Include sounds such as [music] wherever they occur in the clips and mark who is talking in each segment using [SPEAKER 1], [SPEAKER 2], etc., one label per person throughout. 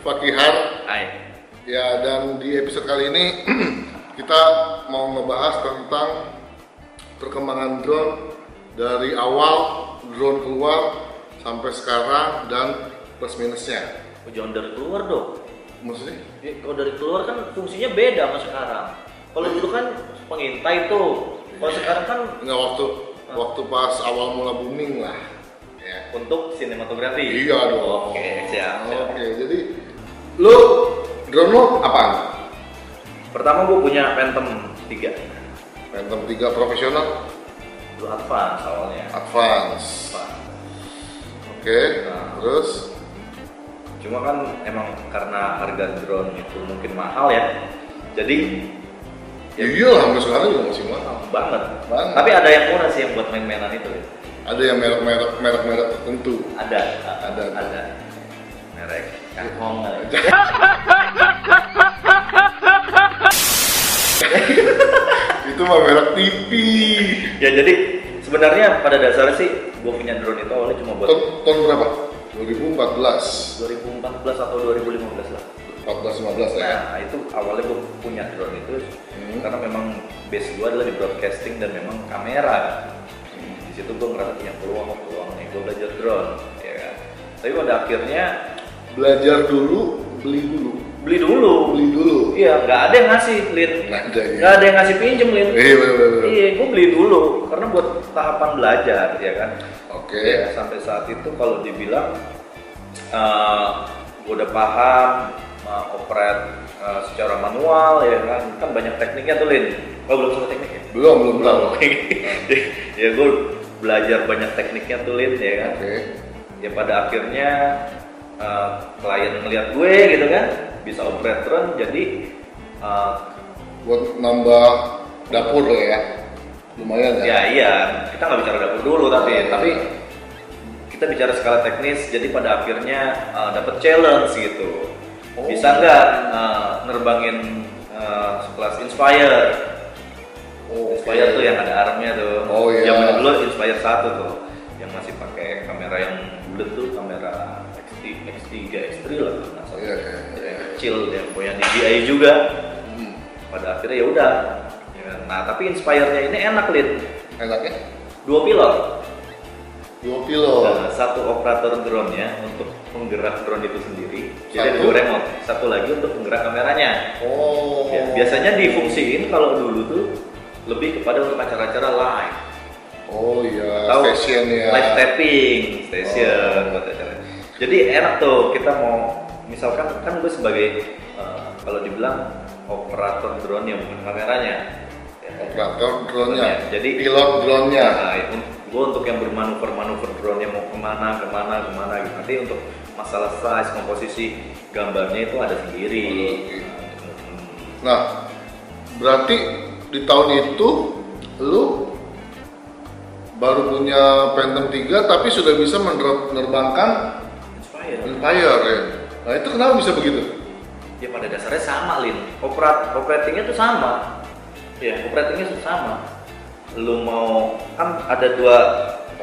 [SPEAKER 1] Fatihar
[SPEAKER 2] Hai.
[SPEAKER 1] Ya, dan di episode kali ini [clears throat] kita mau ngebahas tentang perkembangan drone dari awal drone keluar sampai sekarang dan plus minusnya.
[SPEAKER 2] Oh, Jangan dari keluar dong.
[SPEAKER 1] Maksudnya?
[SPEAKER 2] Eh, Kalau dari keluar kan fungsinya beda sama sekarang. Kalau dulu kan pengintai tuh. Kalau sekarang kan
[SPEAKER 1] Enggak waktu waktu pas awal mula booming lah. Ya.
[SPEAKER 2] untuk sinematografi.
[SPEAKER 1] Iya dong.
[SPEAKER 2] Oke, siap. siap.
[SPEAKER 1] Oke, jadi lu drone lu apaan?
[SPEAKER 2] Pertama gue punya Phantom 3.
[SPEAKER 1] Phantom 3 profesional
[SPEAKER 2] Dulu advance awalnya.
[SPEAKER 1] advance.
[SPEAKER 2] Advance.
[SPEAKER 1] Oke,
[SPEAKER 2] Nah.
[SPEAKER 1] terus
[SPEAKER 2] Cuma kan emang karena harga drone itu mungkin mahal ya. Jadi
[SPEAKER 1] ya iyalah sampai sekarang juga masih mahal.
[SPEAKER 2] mahal banget.
[SPEAKER 1] Banget.
[SPEAKER 2] Tapi ada yang murah sih yang buat main-mainan itu. ya.
[SPEAKER 1] ada yang merek-merek merek-merek tertentu
[SPEAKER 2] Ada.
[SPEAKER 1] Ada.
[SPEAKER 2] Ada. Merek. Kahong.
[SPEAKER 1] itu mah merek TV
[SPEAKER 2] ya jadi sebenarnya pada dasarnya sih gue punya drone itu awalnya cuma buat
[SPEAKER 1] tahun, tahun berapa 2014
[SPEAKER 2] 2014 atau 2015 lah
[SPEAKER 1] 14 15 ya
[SPEAKER 2] nah itu awalnya gue punya drone itu
[SPEAKER 1] Hmm.
[SPEAKER 2] karena memang base gue adalah di broadcasting dan memang kamera
[SPEAKER 1] Hmm.
[SPEAKER 2] di situ gue ngerasa punya peluang oh, peluang nih gue belajar drone ya kan tapi pada akhirnya
[SPEAKER 1] belajar dulu beli dulu
[SPEAKER 2] beli dulu
[SPEAKER 1] beli dulu
[SPEAKER 2] iya nggak ada yang ngasih lin
[SPEAKER 1] Nggak ada, iya.
[SPEAKER 2] nggak ada yang ngasih pinjem lin
[SPEAKER 1] iya bener bener bener.
[SPEAKER 2] iya gue beli dulu karena buat tahapan belajar ya kan
[SPEAKER 1] oke
[SPEAKER 2] Ya, sampai saat itu kalau dibilang uh, gue udah paham uh, operate uh, secara manual ya kan kan banyak tekniknya tuh Lin oh belum sama tekniknya
[SPEAKER 1] belum belum belum
[SPEAKER 2] [laughs] Oke. ya gue belajar banyak tekniknya tuh Lin ya kan
[SPEAKER 1] oke
[SPEAKER 2] ya pada akhirnya uh, klien ngeliat gue gitu kan bisa operate drone jadi uh,
[SPEAKER 1] buat nambah dapur lah ya lumayan ya
[SPEAKER 2] Ya iya, kita nggak bicara dapur dulu tapi
[SPEAKER 1] Iya.
[SPEAKER 2] tapi kita bicara skala teknis. Jadi pada akhirnya uh, dapat challenge gitu.
[SPEAKER 1] Oh.
[SPEAKER 2] Bisa nggak uh, nerbangin uh, sekelas Inspire?
[SPEAKER 1] Oh,
[SPEAKER 2] Inspire
[SPEAKER 1] oke.
[SPEAKER 2] tuh ya. yang ada armnya tuh.
[SPEAKER 1] Oh, iya.
[SPEAKER 2] Zaman dulu Inspire satu tuh, yang masih pakai kamera yang bulat tuh kamera X3, X3, X3 lah kalau nggak salah.
[SPEAKER 1] Iya, iya, iya.
[SPEAKER 2] Yang kecil yang punya DJI juga.
[SPEAKER 1] Hmm.
[SPEAKER 2] Pada akhirnya ya udah. Ya, Nah tapi Inspire-nya ini enak lid
[SPEAKER 1] enaknya
[SPEAKER 2] dua pilot.
[SPEAKER 1] ya? dua kilo
[SPEAKER 2] Nah, satu operator drone nya untuk penggerak drone itu sendiri jadi ada
[SPEAKER 1] Satu.
[SPEAKER 2] dua remote satu lagi untuk penggerak kameranya
[SPEAKER 1] oh
[SPEAKER 2] Ya, biasanya difungsiin kalau dulu tuh lebih kepada untuk acara-acara live
[SPEAKER 1] oh iya
[SPEAKER 2] atau
[SPEAKER 1] station ya
[SPEAKER 2] live taping
[SPEAKER 1] Oh.
[SPEAKER 2] station buat acara jadi enak tuh kita mau misalkan kan gue sebagai eh, kalau dibilang operator drone yang bukan kameranya Ya,
[SPEAKER 1] operator drone-nya
[SPEAKER 2] Jadi-
[SPEAKER 1] pilot drone-nya
[SPEAKER 2] Nah, gue untuk yang bermanuver-manuver drone yang mau kemana, kemana, kemana gitu. Nanti untuk masalah size, komposisi gambarnya itu ada sendiri.
[SPEAKER 1] Oke. Nah, berarti di tahun itu lu baru punya Phantom 3 tapi sudah bisa mener- menerbangkan
[SPEAKER 2] Inspire.
[SPEAKER 1] Empire ya. Nah, itu kenapa bisa begitu?
[SPEAKER 2] Hmm. Ya pada dasarnya sama, Lin. Operat, operatingnya tuh sama. Ya, operatingnya tuh sama. Lu mau kan ada dua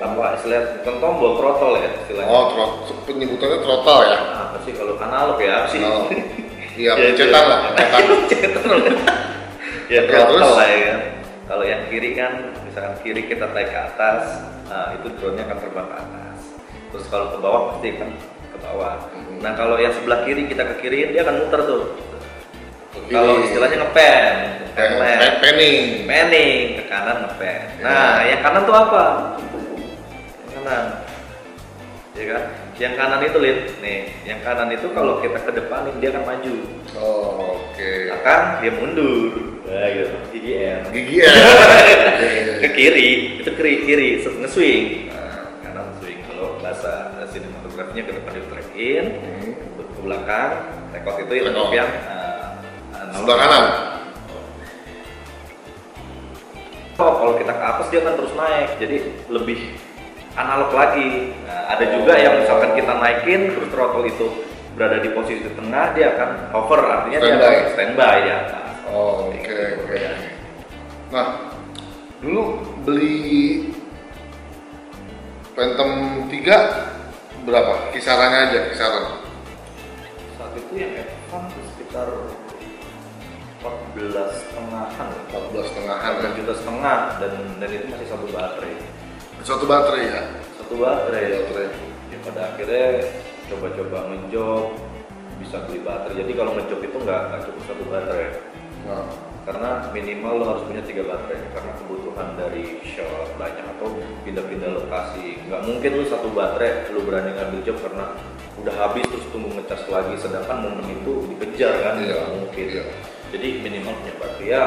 [SPEAKER 2] apa istilah bukan tombol throttle ya istilahnya.
[SPEAKER 1] Oh, trot, penyebutannya throttle ya.
[SPEAKER 2] Apa sih kalau analog ya apa sih?
[SPEAKER 1] Oh. Iya,
[SPEAKER 2] Ya,
[SPEAKER 1] pencetan
[SPEAKER 2] iya.
[SPEAKER 1] lah, pencetan.
[SPEAKER 2] Cetar. ya
[SPEAKER 1] Terus?
[SPEAKER 2] throttle lah ya kan. Kalau yang kiri kan, misalkan kiri kita tarik ke atas, nah, itu drone-nya akan terbang ke atas. Terus kalau ke bawah pasti kan ke bawah.
[SPEAKER 1] Mhm.
[SPEAKER 2] Nah kalau yang sebelah kiri kita ke kiri, dia akan muter tuh.
[SPEAKER 1] Kiri.
[SPEAKER 2] Kalau istilahnya ngepen,
[SPEAKER 1] Pen-
[SPEAKER 2] iya, ngepen.
[SPEAKER 1] pen- Penning.
[SPEAKER 2] Manning ke kanan ngepen.
[SPEAKER 1] Ya.
[SPEAKER 2] Nah, yang kanan tuh apa? Yang kanan. Ya kan? Yang kanan itu lid. Nih, yang kanan itu kalau kita ke depanin dia akan maju.
[SPEAKER 1] Oh, oke.
[SPEAKER 2] Akan dia mundur. Iya. Nah, gitu. GGM.
[SPEAKER 1] Gigi ya.
[SPEAKER 2] Ke kiri, itu kiri kiri, set- nge-swing. Nah, kanan swing kalau bahasa sinematografinya ke depan di track in, ke ke belakang, rekod itu yang
[SPEAKER 1] Record.
[SPEAKER 2] yang eh, analog.
[SPEAKER 1] Sebelah kanan.
[SPEAKER 2] Oh, kalau kita ke atas dia akan terus naik, jadi lebih analog lagi. Nah, ada juga yang misalkan kita naikin, terus throttle itu berada di posisi tengah, dia akan hover, artinya dia
[SPEAKER 1] Standby.
[SPEAKER 2] akan standby ya. atas.
[SPEAKER 1] Oh, oke, oke. Nah, dulu beli Phantom 3 berapa? Kisarannya aja, kisaran.
[SPEAKER 2] Saat itu yang kan sekitar 14 setengahan
[SPEAKER 1] 14 setengahan ya.
[SPEAKER 2] 14 juta setengah dan dan itu masih satu baterai
[SPEAKER 1] Satu baterai ya. Iya,
[SPEAKER 2] satu baterai
[SPEAKER 1] Baterai.
[SPEAKER 2] ya pada akhirnya coba-coba ngejob bisa beli baterai jadi kalau ngejob itu nggak nggak cukup satu baterai
[SPEAKER 1] Nah,
[SPEAKER 2] karena minimal lo harus punya tiga baterai karena kebutuhan dari shell banyak atau pindah-pindah lokasi nggak mungkin lo satu baterai lo berani ngambil job karena udah habis terus tunggu ngecas lagi sedangkan momen itu dikejar kan
[SPEAKER 1] Iya,
[SPEAKER 2] nggak mungkin
[SPEAKER 1] iya.
[SPEAKER 2] jadi minimal punya baterai ya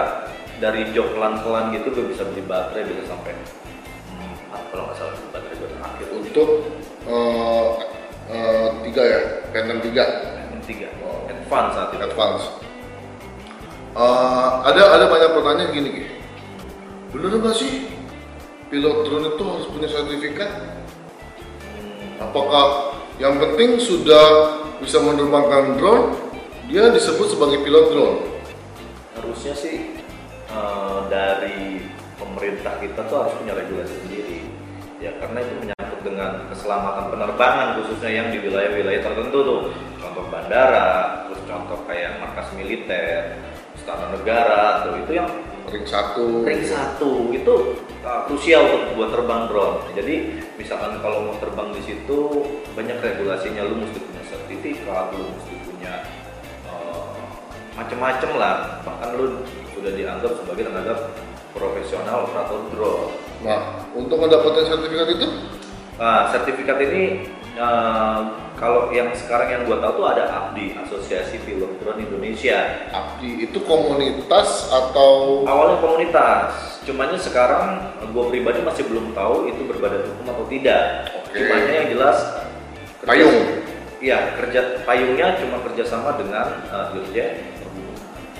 [SPEAKER 2] dari job pelan-pelan gitu gue bisa beli baterai bisa sampai empat kalau nggak salah beli baterai gue terakhir
[SPEAKER 1] untuk eh, eh, tiga ya, Phantom 3
[SPEAKER 2] yang tiga advance saat itu
[SPEAKER 1] advance. Eh, ada ada banyak pertanyaan gini Ki. Bener nggak sih pilot drone itu harus punya sertifikat? Apakah yang penting sudah bisa menerbangkan drone, dia disebut sebagai pilot drone?
[SPEAKER 2] harusnya sih eh, dari pemerintah kita tuh harus punya regulasi sendiri ya karena itu menyangkut dengan keselamatan penerbangan khususnya yang di wilayah-wilayah tertentu tuh contoh bandara terus contoh kayak markas militer istana negara tuh itu yang
[SPEAKER 1] Ring satu.
[SPEAKER 2] ring satu itu uh, krusial untuk buat terbang drone. Jadi misalkan kalau mau terbang di situ banyak regulasinya, lu mesti punya sertifikat, lu mesti punya uh, macem-macem lah. Bahkan lu sudah dianggap sebagai tenaga profesional operator drone.
[SPEAKER 1] Nah, untuk mendapatkan sertifikat itu,
[SPEAKER 2] Nah, sertifikat ini uh, kalau yang sekarang yang gua tahu tuh ada APDI, Asosiasi Pilot Drone Indonesia.
[SPEAKER 1] APDI itu komunitas atau
[SPEAKER 2] awalnya komunitas cumannya sekarang gue pribadi masih belum tahu itu berbadan hukum atau tidak
[SPEAKER 1] Oke.
[SPEAKER 2] cumannya yang jelas kerja-
[SPEAKER 1] Payung.
[SPEAKER 2] iya kerja payungnya cuma kerjasama dengan uh, dirjen perhubungan.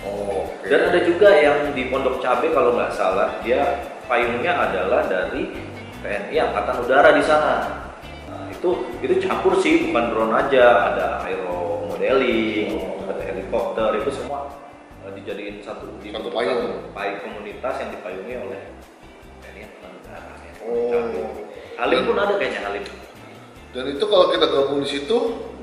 [SPEAKER 1] oh, oke.
[SPEAKER 2] dan ada juga yang di pondok cabe kalau nggak salah dia payungnya adalah dari TNI angkatan udara di sana nah, itu itu campur sih bukan drone aja ada aero modeling ada helikopter itu semua eh, dijadiin satu
[SPEAKER 1] Satu payung.
[SPEAKER 2] payung komunitas yang dipayungi oleh TNI angkatan udara ya.
[SPEAKER 1] Oh.
[SPEAKER 2] Halim pun ada kayaknya Halim
[SPEAKER 1] Dan itu kalau kita gabung di situ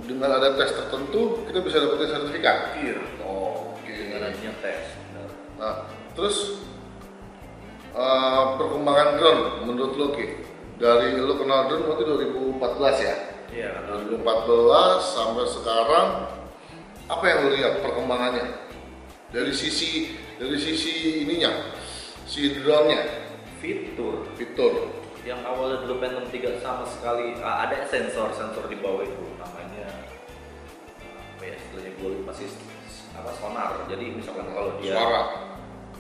[SPEAKER 1] dengan ada tes tertentu, kita bisa dapetin sertifikat.
[SPEAKER 2] iya
[SPEAKER 1] Oh, oke.
[SPEAKER 2] dengannya tes benar.
[SPEAKER 1] Nah, terus eh, perkembangan drone menurut lo Ki? Dari lo kenal drone waktu 2014 ya?
[SPEAKER 2] iya benar.
[SPEAKER 1] 2014 sampai sekarang apa yang lo lihat perkembangannya? Dari sisi dari sisi ininya, si drone-nya,
[SPEAKER 2] fitur
[SPEAKER 1] fitur.
[SPEAKER 2] yang awalnya dulu Phantom 3 sama sekali ah, ada sensor sensor di bawah itu namanya apa ya istilahnya gue lupa sih apa sonar jadi misalkan kalau dia
[SPEAKER 1] Suara.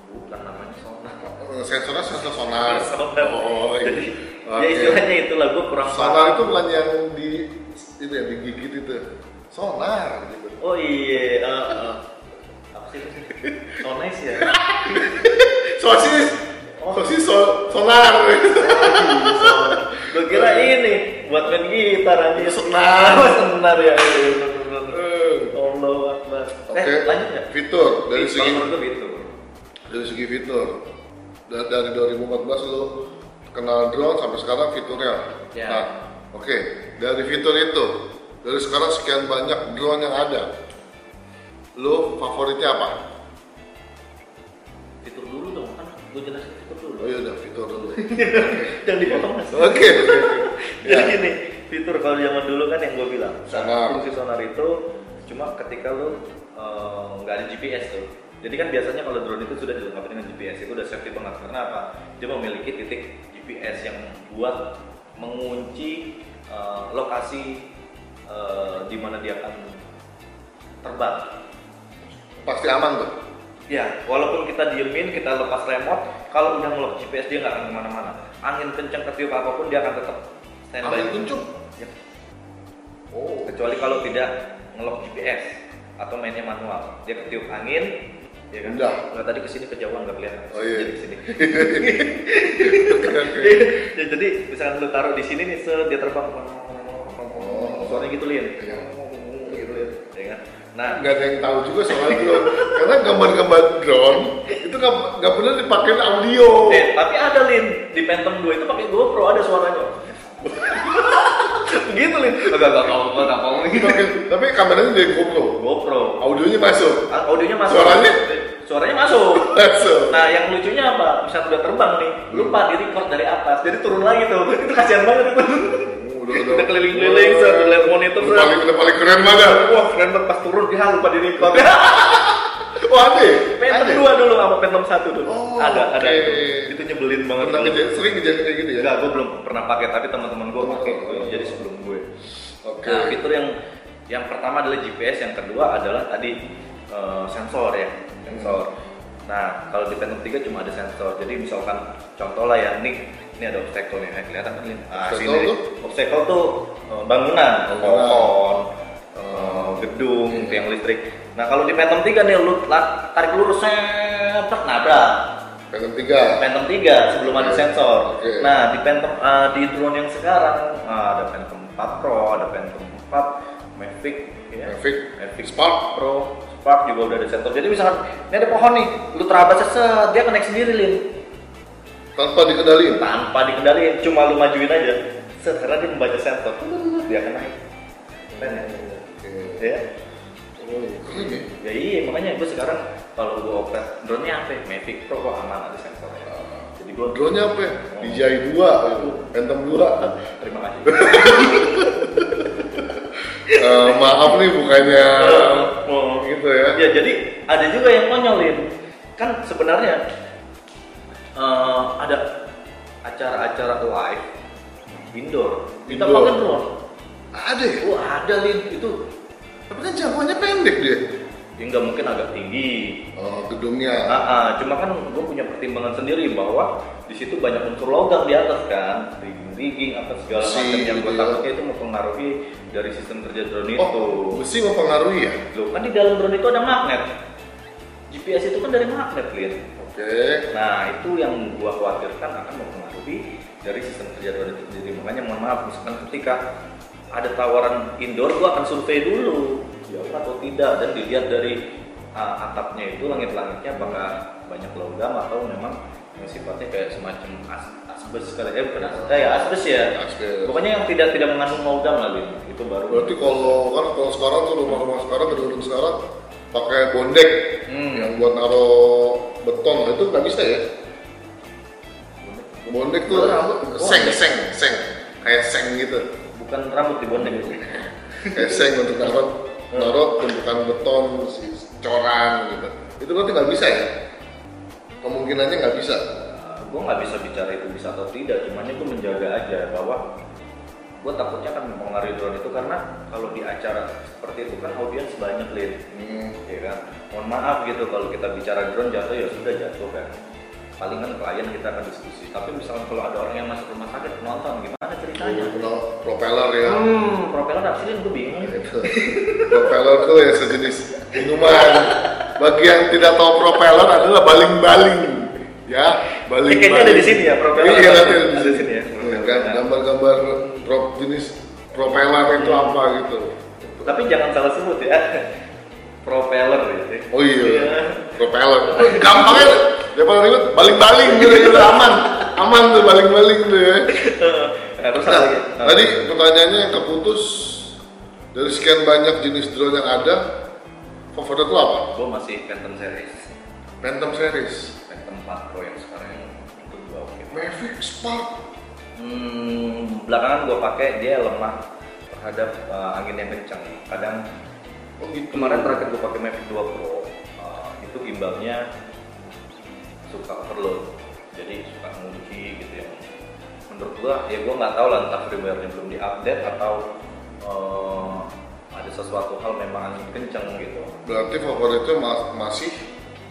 [SPEAKER 2] bukan namanya sonar
[SPEAKER 1] Eh, Sensornya sensor sonar.
[SPEAKER 2] [laughs] Sonar.
[SPEAKER 1] Ah, Oh, iya.
[SPEAKER 2] jadi
[SPEAKER 1] Oke.
[SPEAKER 2] ya istilahnya itulah gue kurang
[SPEAKER 1] Sonar
[SPEAKER 2] paham.
[SPEAKER 1] itu bukan yang di itu ya digigit itu. Sonar gitu.
[SPEAKER 2] oh iya eh, eh. apa
[SPEAKER 1] [laughs]
[SPEAKER 2] sih itu? sonis ya
[SPEAKER 1] Sosis.
[SPEAKER 2] Oh.
[SPEAKER 1] Sosis so- sonar.
[SPEAKER 2] Eh, gue kira ini buat main gitar anjir
[SPEAKER 1] Eh. Sonar.
[SPEAKER 2] Oh, [laughs] sonar ya Iya, bener, bener.
[SPEAKER 1] Eh.
[SPEAKER 2] Allah Akbar
[SPEAKER 1] Oke.
[SPEAKER 2] eh lanjut ya
[SPEAKER 1] Fitur dari
[SPEAKER 2] Kalau
[SPEAKER 1] segi
[SPEAKER 2] menurut gue fitur
[SPEAKER 1] dari segi fitur. Da- Dari 2014 lo kenal drone sampai sekarang fiturnya.
[SPEAKER 2] Ya.
[SPEAKER 1] Nah, oke. Dari fitur itu, dari sekarang sekian banyak drone yang ada. Lo favoritnya apa?
[SPEAKER 2] fitur dulu dong kan gue jelasin fitur dulu
[SPEAKER 1] Oh iya udah fitur
[SPEAKER 2] [laughs]
[SPEAKER 1] dulu.
[SPEAKER 2] jangan dipotong mas
[SPEAKER 1] Oke.
[SPEAKER 2] [laughs] jadi gini fitur kalau zaman dulu kan yang gue bilang nah,
[SPEAKER 1] Sonar.
[SPEAKER 2] fungsi sonar itu cuma ketika lo eh, nggak ada GPS tuh jadi kan biasanya kalau drone itu sudah dilengkapi dengan GPS itu udah safety banget karena apa dia memiliki titik GPS yang buat mengunci eh, lokasi eh, di mana dia akan terbang
[SPEAKER 1] Pasti aman tuh.
[SPEAKER 2] Ya, walaupun kita diemin, kita lepas remote, kalau udah ngelok GPS dia nggak akan kemana-mana. Angin kencang ketiup apapun dia akan tetap standby.
[SPEAKER 1] Angin kencang?
[SPEAKER 2] Ya,
[SPEAKER 1] Oh.
[SPEAKER 2] kecuali kalau tidak ngelok GPS atau mainnya manual, dia ketiup angin, ya kan?
[SPEAKER 1] Udah.
[SPEAKER 2] Nggak tadi kesini kejauhan nggak kelihatan.
[SPEAKER 1] Oh, iya.
[SPEAKER 2] Jadi
[SPEAKER 1] [laughs]
[SPEAKER 2] kesini.
[SPEAKER 1] Oke, oke.
[SPEAKER 2] ya, jadi misalkan lu taruh di sini nih, set, dia terbang. Oh. Suaranya gitu lin.
[SPEAKER 1] Iya.
[SPEAKER 2] Gitu lin, ya kan? Nah,
[SPEAKER 1] nggak ada yang tahu juga soal drone karena gambar-gambar drone itu nggak nggak pernah dipakai audio
[SPEAKER 2] Eh, [laughs] tapi ada Gitu, Lin, di Phantom 2 itu pakai GoPro ada suaranya. begitu nih agak agak ngomong gua nggak ngomong gitu
[SPEAKER 1] Oke, tapi kameranya dari GoPro,
[SPEAKER 2] GoPro
[SPEAKER 1] audionya masuk,
[SPEAKER 2] Ah, audionya masuk
[SPEAKER 1] Suaranya?
[SPEAKER 2] suaranya [laughs] masuk
[SPEAKER 1] masuk.
[SPEAKER 2] nah yang lucunya apa bisa udah terbang nih lupa di record dari atas jadi turun lagi tuh [laughs] itu kasihan banget itu udah keliling-keliling set, udah lihat monitor
[SPEAKER 1] Udah
[SPEAKER 2] set.
[SPEAKER 1] paling udah paling keren mana?
[SPEAKER 2] wah keren banget pas turun dia lupa di record
[SPEAKER 1] Wah ada. ya?
[SPEAKER 2] [laughs] Phantom
[SPEAKER 1] Ada.
[SPEAKER 2] 2 dulu sama Phantom 1 dulu.
[SPEAKER 1] Oh,
[SPEAKER 2] ada, ada
[SPEAKER 1] oke.
[SPEAKER 2] itu. Itu nyebelin banget.
[SPEAKER 1] Pernah
[SPEAKER 2] Nyebelin.
[SPEAKER 1] kejadian, sering kejadian kayak gitu ya?
[SPEAKER 2] Enggak, gue belum pernah pakai, tapi teman-teman gue pakai. Jadi sebelum gue.
[SPEAKER 1] Oke.
[SPEAKER 2] Nah, fitur yang yang pertama adalah GPS, yang kedua adalah tadi eh, sensor ya,
[SPEAKER 1] Hmm.
[SPEAKER 2] sensor. Nah, kalau di Phantom 3 cuma ada sensor. Jadi misalkan contoh lah ya, ini ini ada obstacle nih, Eh, kelihatan kan ini. Ah,
[SPEAKER 1] Obstacle
[SPEAKER 2] sini
[SPEAKER 1] tuh?
[SPEAKER 2] obstacle tuh eh, bangunan,
[SPEAKER 1] Bangunan. Hmm.
[SPEAKER 2] pohon, eh, gedung, tiang listrik. Nah, kalau di Phantom 3 nih lu la- tarik lurus sepet nabrak.
[SPEAKER 1] Phantom 3.
[SPEAKER 2] Phantom 3 sebelum ada
[SPEAKER 1] Oke.
[SPEAKER 2] sensor.
[SPEAKER 1] Iya. Oke.
[SPEAKER 2] Nah, di Phantom eh, di drone yang sekarang eh, ada Phantom 4 Pro, ada Phantom 4 Mavic ya.
[SPEAKER 1] Mavic.
[SPEAKER 2] Mavic
[SPEAKER 1] Spark.
[SPEAKER 2] Pro, Spark juga udah ada sensor. Jadi misalkan ini ada pohon nih, lu terabas seset, dia connect sendiri lin
[SPEAKER 1] Tanpa dikendaliin.
[SPEAKER 2] tanpa dikendaliin, cuma lu majuin aja. Set, karena dia membaca sensor, dia akan naik. Keren ya?
[SPEAKER 1] Iya. Oke.
[SPEAKER 2] Ya,
[SPEAKER 1] Oh, Keren ya?
[SPEAKER 2] ya iya makanya gue sekarang kalau gue operate drone nya apa? ya? Mavic Pro kok aman ada sensornya.
[SPEAKER 1] Oh.
[SPEAKER 2] Jadi gue
[SPEAKER 1] Drone-nya apa ya? DJI 2 gitu. Phantom 2.
[SPEAKER 2] terima kasih.
[SPEAKER 1] Eh, maaf nih bukannya
[SPEAKER 2] Oh.
[SPEAKER 1] gitu ya.
[SPEAKER 2] Ya jadi ada juga yang konyolin. Kan sebenarnya eh, ada acara-acara live indoor. Kita
[SPEAKER 1] Indoor.
[SPEAKER 2] pakai drone.
[SPEAKER 1] Ada ya?
[SPEAKER 2] Wah ada lin itu.
[SPEAKER 1] Tapi kan jangkauannya pendek dia.
[SPEAKER 2] Ya nggak mungkin agak tinggi.
[SPEAKER 1] Oh, gedungnya.
[SPEAKER 2] Nah, ah, cuma kan gue punya pertimbangan sendiri bahwa di situ banyak unsur logam di atas kan, rigging-rigging apa segala
[SPEAKER 1] Besi,
[SPEAKER 2] macam yang gue
[SPEAKER 1] gitu ya.
[SPEAKER 2] takutnya itu mempengaruhi dari sistem kerja drone itu.
[SPEAKER 1] Oh, besi mempengaruhi ya?
[SPEAKER 2] Loh, kan di dalam drone itu ada magnet. GPS itu kan dari magnet, Lin.
[SPEAKER 1] Oke.
[SPEAKER 2] Nah, itu yang gua khawatirkan akan mempengaruhi dari sistem kerja drone itu sendiri. Makanya mohon maaf misalkan ketika ada tawaran indoor, gua akan survei dulu jauh atau tidak dan dilihat dari uh, atapnya itu langit-langitnya apakah banyak logam atau memang yang sifatnya kayak semacam as asbes kali eh bukan asbes, eh, ya asbes ya.
[SPEAKER 1] Asbes.
[SPEAKER 2] Pokoknya yang tidak tidak mengandung logam lah Lin. itu baru.
[SPEAKER 1] Berarti kalau kan kalau sekarang tuh rumah-rumah sekarang gedung-gedung sekarang pakai bondek
[SPEAKER 2] Hmm.
[SPEAKER 1] yang buat naruh beton Nah, itu nggak bisa ya? Bondek tuh
[SPEAKER 2] Rambut.
[SPEAKER 1] seng seng seng kayak seng gitu
[SPEAKER 2] bukan rambut di bonding
[SPEAKER 1] kayak seng untuk naruh naruh tumpukan beton si coran gitu itu berarti nggak bisa ya kemungkinannya nggak bisa
[SPEAKER 2] gue nggak bisa bicara itu bisa atau tidak cuman itu menjaga aja bahwa gue takutnya akan mempengaruhi drone itu karena kalau di acara seperti itu kan audiens banyak lin
[SPEAKER 1] hmm.
[SPEAKER 2] ya kan mohon maaf gitu kalau kita bicara drone jatuh ya sudah jatuh kan palingan klien kita akan diskusi tapi misalnya kalau ada orang yang masuk rumah sakit penonton gimana ceritanya
[SPEAKER 1] Kenal propeller ya
[SPEAKER 2] hmm propeller apa sih Lin? gue bingung
[SPEAKER 1] propeller tuh ya sejenis minuman bagi yang tidak tahu propeller adalah baling-baling ya baling
[SPEAKER 2] Eh, kayaknya ada di sini ya, propeller.
[SPEAKER 1] iya nanti
[SPEAKER 2] Ada di sini ya.
[SPEAKER 1] Kan, gambar-gambar prop jenis propeller itu apa gitu
[SPEAKER 2] tapi jangan salah sebut ya propeller gitu
[SPEAKER 1] oh iya propeller gampangnya daripada ribet baling-baling gitu gitu aman aman tuh baling-baling tuh ya
[SPEAKER 2] nah, terus apa
[SPEAKER 1] nah
[SPEAKER 2] lagi
[SPEAKER 1] tadi pertanyaannya yang keputus dari sekian banyak jenis drone yang ada favorit lo apa?
[SPEAKER 2] gue masih Phantom series
[SPEAKER 1] Phantom series
[SPEAKER 2] Phantom 4 Pro yang sekarang itu gue oke
[SPEAKER 1] Mavic Spark
[SPEAKER 2] hmm, belakangan gue pakai dia lemah terhadap uh, angin yang kencang kadang
[SPEAKER 1] oh gitu
[SPEAKER 2] kemarin terakhir gue pakai Mavic 2 Pro uh, itu gimbalnya suka overload jadi suka ngunci gitu ya menurut gua ya gua nggak tahu lah entah firmware-nya belum diupdate atau uh, ada sesuatu hal memang angin kencang gitu
[SPEAKER 1] Berarti favoritnya ma- masih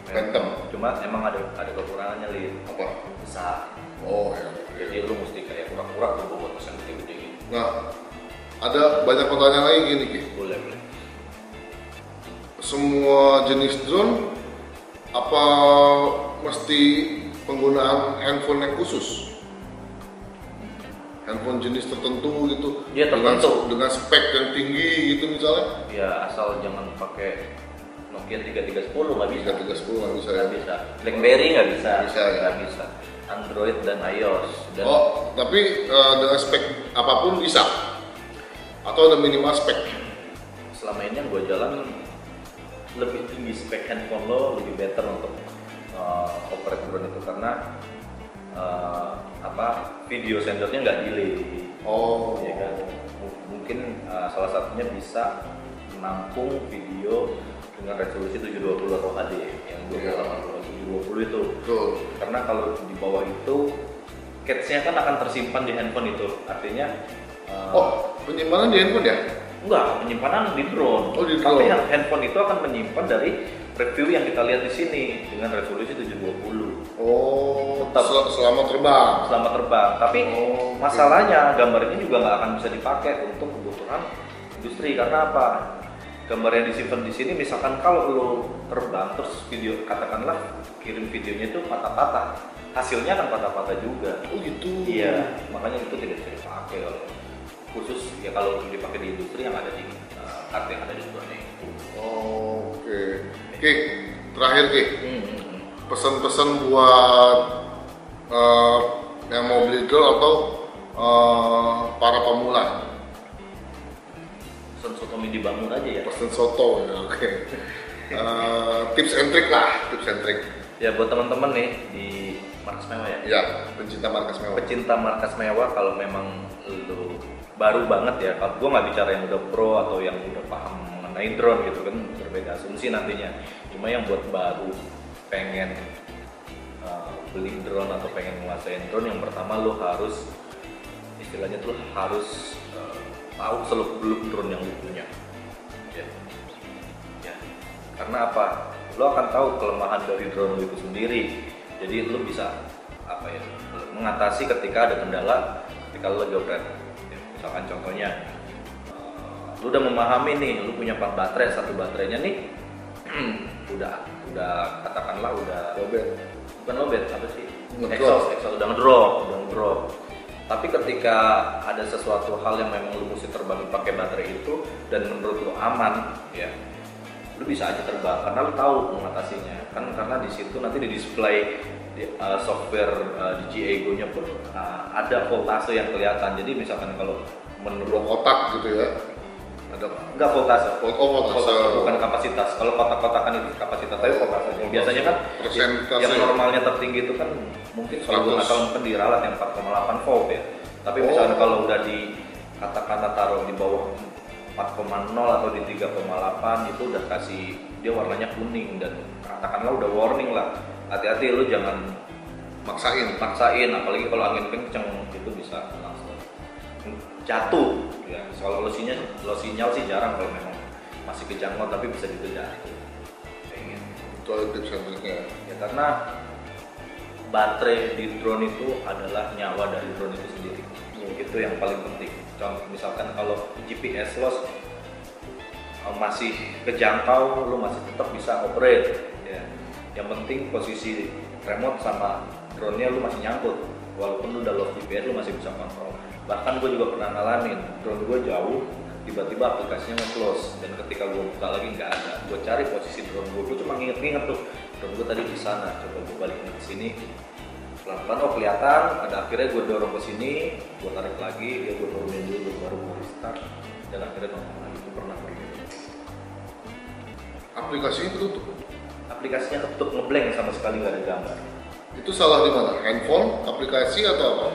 [SPEAKER 1] Phantom.
[SPEAKER 2] cuma emang ada ada kekurangannya lin
[SPEAKER 1] Apa?
[SPEAKER 2] besar
[SPEAKER 1] Oh ya.
[SPEAKER 2] jadi lu mesti kayak kurang-kurang tuh bawa pesan gede-gede gitu.
[SPEAKER 1] Nah, ada banyak pertanyaan lagi gini, Ki.
[SPEAKER 2] boleh boleh
[SPEAKER 1] Semua jenis drone apa mesti penggunaan handphone yang khusus? Handphone jenis tertentu gitu.
[SPEAKER 2] Iya,
[SPEAKER 1] dengan,
[SPEAKER 2] tertentu.
[SPEAKER 1] dengan spek yang tinggi gitu misalnya.
[SPEAKER 2] ya asal jangan pakai Nokia 3310 nggak bisa
[SPEAKER 1] 3310 nggak bisa ya.
[SPEAKER 2] nggak bisa BlackBerry nggak bisa
[SPEAKER 1] Bisa, ya.
[SPEAKER 2] nggak bisa Android dan iOS dan
[SPEAKER 1] Oh, tapi eh, dengan spek apapun bisa. atau ada minimal spek?
[SPEAKER 2] selama ini yang gue jalan lebih tinggi spek handphone lo lebih better untuk uh, operate drone itu karena uh, apa video sensornya nggak delay
[SPEAKER 1] Oh,
[SPEAKER 2] ya kan M- mungkin uh, salah satunya bisa menampung video dengan resolusi 720 atau HD yang gue
[SPEAKER 1] Iya.
[SPEAKER 2] pengalaman kalau 720 itu
[SPEAKER 1] betul.
[SPEAKER 2] karena kalau di bawah itu catch-nya kan akan tersimpan di handphone itu artinya uh,
[SPEAKER 1] Oh, penyimpanan di handphone ya?
[SPEAKER 2] Enggak, penyimpanan di drone.
[SPEAKER 1] Oh, di drone.
[SPEAKER 2] Tapi hand- handphone itu akan menyimpan dari review yang kita lihat di sini dengan resolusi 720
[SPEAKER 1] Oh,
[SPEAKER 2] Tetap.
[SPEAKER 1] sel- selama terbang.
[SPEAKER 2] selama terbang. Tapi
[SPEAKER 1] Oh, oke.
[SPEAKER 2] masalahnya gambar ini juga nggak akan bisa dipakai untuk kebutuhan industri karena apa? Gambar yang disimpan di sini misalkan kalau lo terbang terus video katakanlah kirim videonya itu patah-patah, hasilnya akan patah-patah juga.
[SPEAKER 1] Oh gitu.
[SPEAKER 2] Iya, makanya itu tidak bisa dipakai kalau khusus ya kalau dipakai di industri yang ada di uh, kartu yang ada di drone itu.
[SPEAKER 1] Oh, Oke. Ki, terakhir Ki,
[SPEAKER 2] Hmm.
[SPEAKER 1] pesan-pesan buat eh, yang mau beli drone atau eh, para pemula.
[SPEAKER 2] Pesan soto mie dibangun aja ya.
[SPEAKER 1] Pesan soto ya, oke. Eh, tips and trick lah, tips and trick.
[SPEAKER 2] Ya buat teman-teman nih di markas mewah ya.
[SPEAKER 1] Ya, pencinta markas mewah.
[SPEAKER 2] Pecinta markas mewah kalau memang lu baru banget ya. Kalau gua nggak bicara yang udah pro atau yang udah paham mengenai drone gitu kan berbeda asumsi nantinya. Cuma yang buat baru pengen uh, beli drone atau pengen menguasain drone yang pertama lu harus istilahnya tuh lu harus uh, tahu seluk beluk drone yang lu punya. Ya. ya karena apa lo akan tahu kelemahan dari drone lo itu sendiri jadi lo bisa apa ya mengatasi ketika ada kendala ketika lo lagi operate Ya, misalkan contohnya eh, lo udah memahami nih lo punya empat baterai satu baterainya nih [clears throat] udah udah katakanlah udah
[SPEAKER 1] Robert.
[SPEAKER 2] bukan lobet apa sih
[SPEAKER 1] Ngedrop.
[SPEAKER 2] exhaust exhaust udah ngedrop udah ngedrop tapi ketika ada sesuatu hal yang memang lu mesti terbang pakai baterai itu dan menurut lu aman ya lu bisa aja terbang karena lu tahu mengatasinya kan karena di situ nanti di display di, uh, software uh, di GAGO nya pun uh, ada voltase yang kelihatan jadi misalkan kalau
[SPEAKER 1] Dua
[SPEAKER 2] menurut
[SPEAKER 1] kotak gitu ya.
[SPEAKER 2] ada enggak voltase
[SPEAKER 1] Volt- oh, voltase.
[SPEAKER 2] bukan kapasitas kalau kotak-kotakan itu kapasitas tapi voltase
[SPEAKER 1] Voltase.
[SPEAKER 2] biasanya kan
[SPEAKER 1] Persentase.
[SPEAKER 2] yang normalnya tertinggi itu kan mungkin selalu
[SPEAKER 1] 100.
[SPEAKER 2] atau mungkin di ralat yang 4,8 volt ya tapi
[SPEAKER 1] Oh.
[SPEAKER 2] misalnya kalau udah di katakanlah taruh di bawah 4,0 atau di 3,8 itu udah kasih dia warnanya kuning dan katakanlah udah warning lah hati-hati lu jangan
[SPEAKER 1] Maksain.
[SPEAKER 2] paksain apalagi kalau angin kenceng itu bisa langsung jatuh ya kalau lo sinyal lo sinyal sih jarang kalau memang masih kejangkau tapi bisa dikejar pengen
[SPEAKER 1] Itu ada tips and tricknya.
[SPEAKER 2] ya karena baterai di drone itu adalah nyawa dari drone itu sendiri itu yang paling penting contoh misalkan kalau GPS loss eh, masih kejangkau lo masih tetap bisa operate ya yang penting posisi remote sama drone-nya lu masih nyangkut walaupun lu udah lost GPS lu masih bisa kontrol bahkan gue juga pernah ngalamin drone gue jauh tiba-tiba aplikasinya nge-close dan ketika gue buka lagi nggak ada gue cari posisi drone gue gue cuma nginget-nginget tuh drone gue tadi di sana coba gue balikin ke sini pelan-pelan oh kelihatan ada akhirnya gue dorong ke sini gue tarik lagi dia gue turunin dulu gua baru gue restart dan akhirnya nongol lagi itu pernah begitu
[SPEAKER 1] Aplikasi itu tutup.
[SPEAKER 2] aplikasinya ketutup ngeblank sama sekali nggak ada gambar
[SPEAKER 1] Itu salah di mana? Handphone, aplikasi atau apa?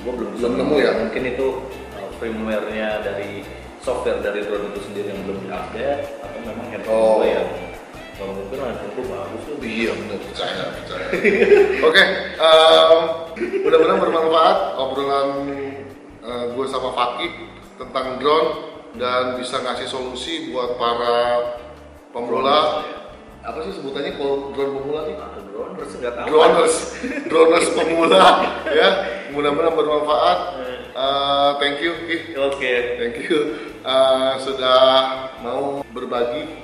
[SPEAKER 2] gue belum bisa
[SPEAKER 1] Hmm. Belum nemu ya?
[SPEAKER 2] mungkin itu uh, firmware-nya dari software dari drone itu sendiri yang belum diupdate atau memang handphone
[SPEAKER 1] Oh.
[SPEAKER 2] gue yang kalau mungkin handphone gue bagus tuh
[SPEAKER 1] Iya benar percaya percaya. [laughs] Oke, em, mudah-mudahan bermanfaat obrolan eh, gue sama Fakih tentang drone dan bisa ngasih solusi buat para pemula. Apa sih sebutannya kalau drone pemula nih?
[SPEAKER 2] atau drone terus nggak tahu
[SPEAKER 1] Droners, droners pemula ya. Mudah-mudahan bermanfaat. Eh, thank you, Ki.
[SPEAKER 2] oke
[SPEAKER 1] Thank you eh, sudah mau berbagi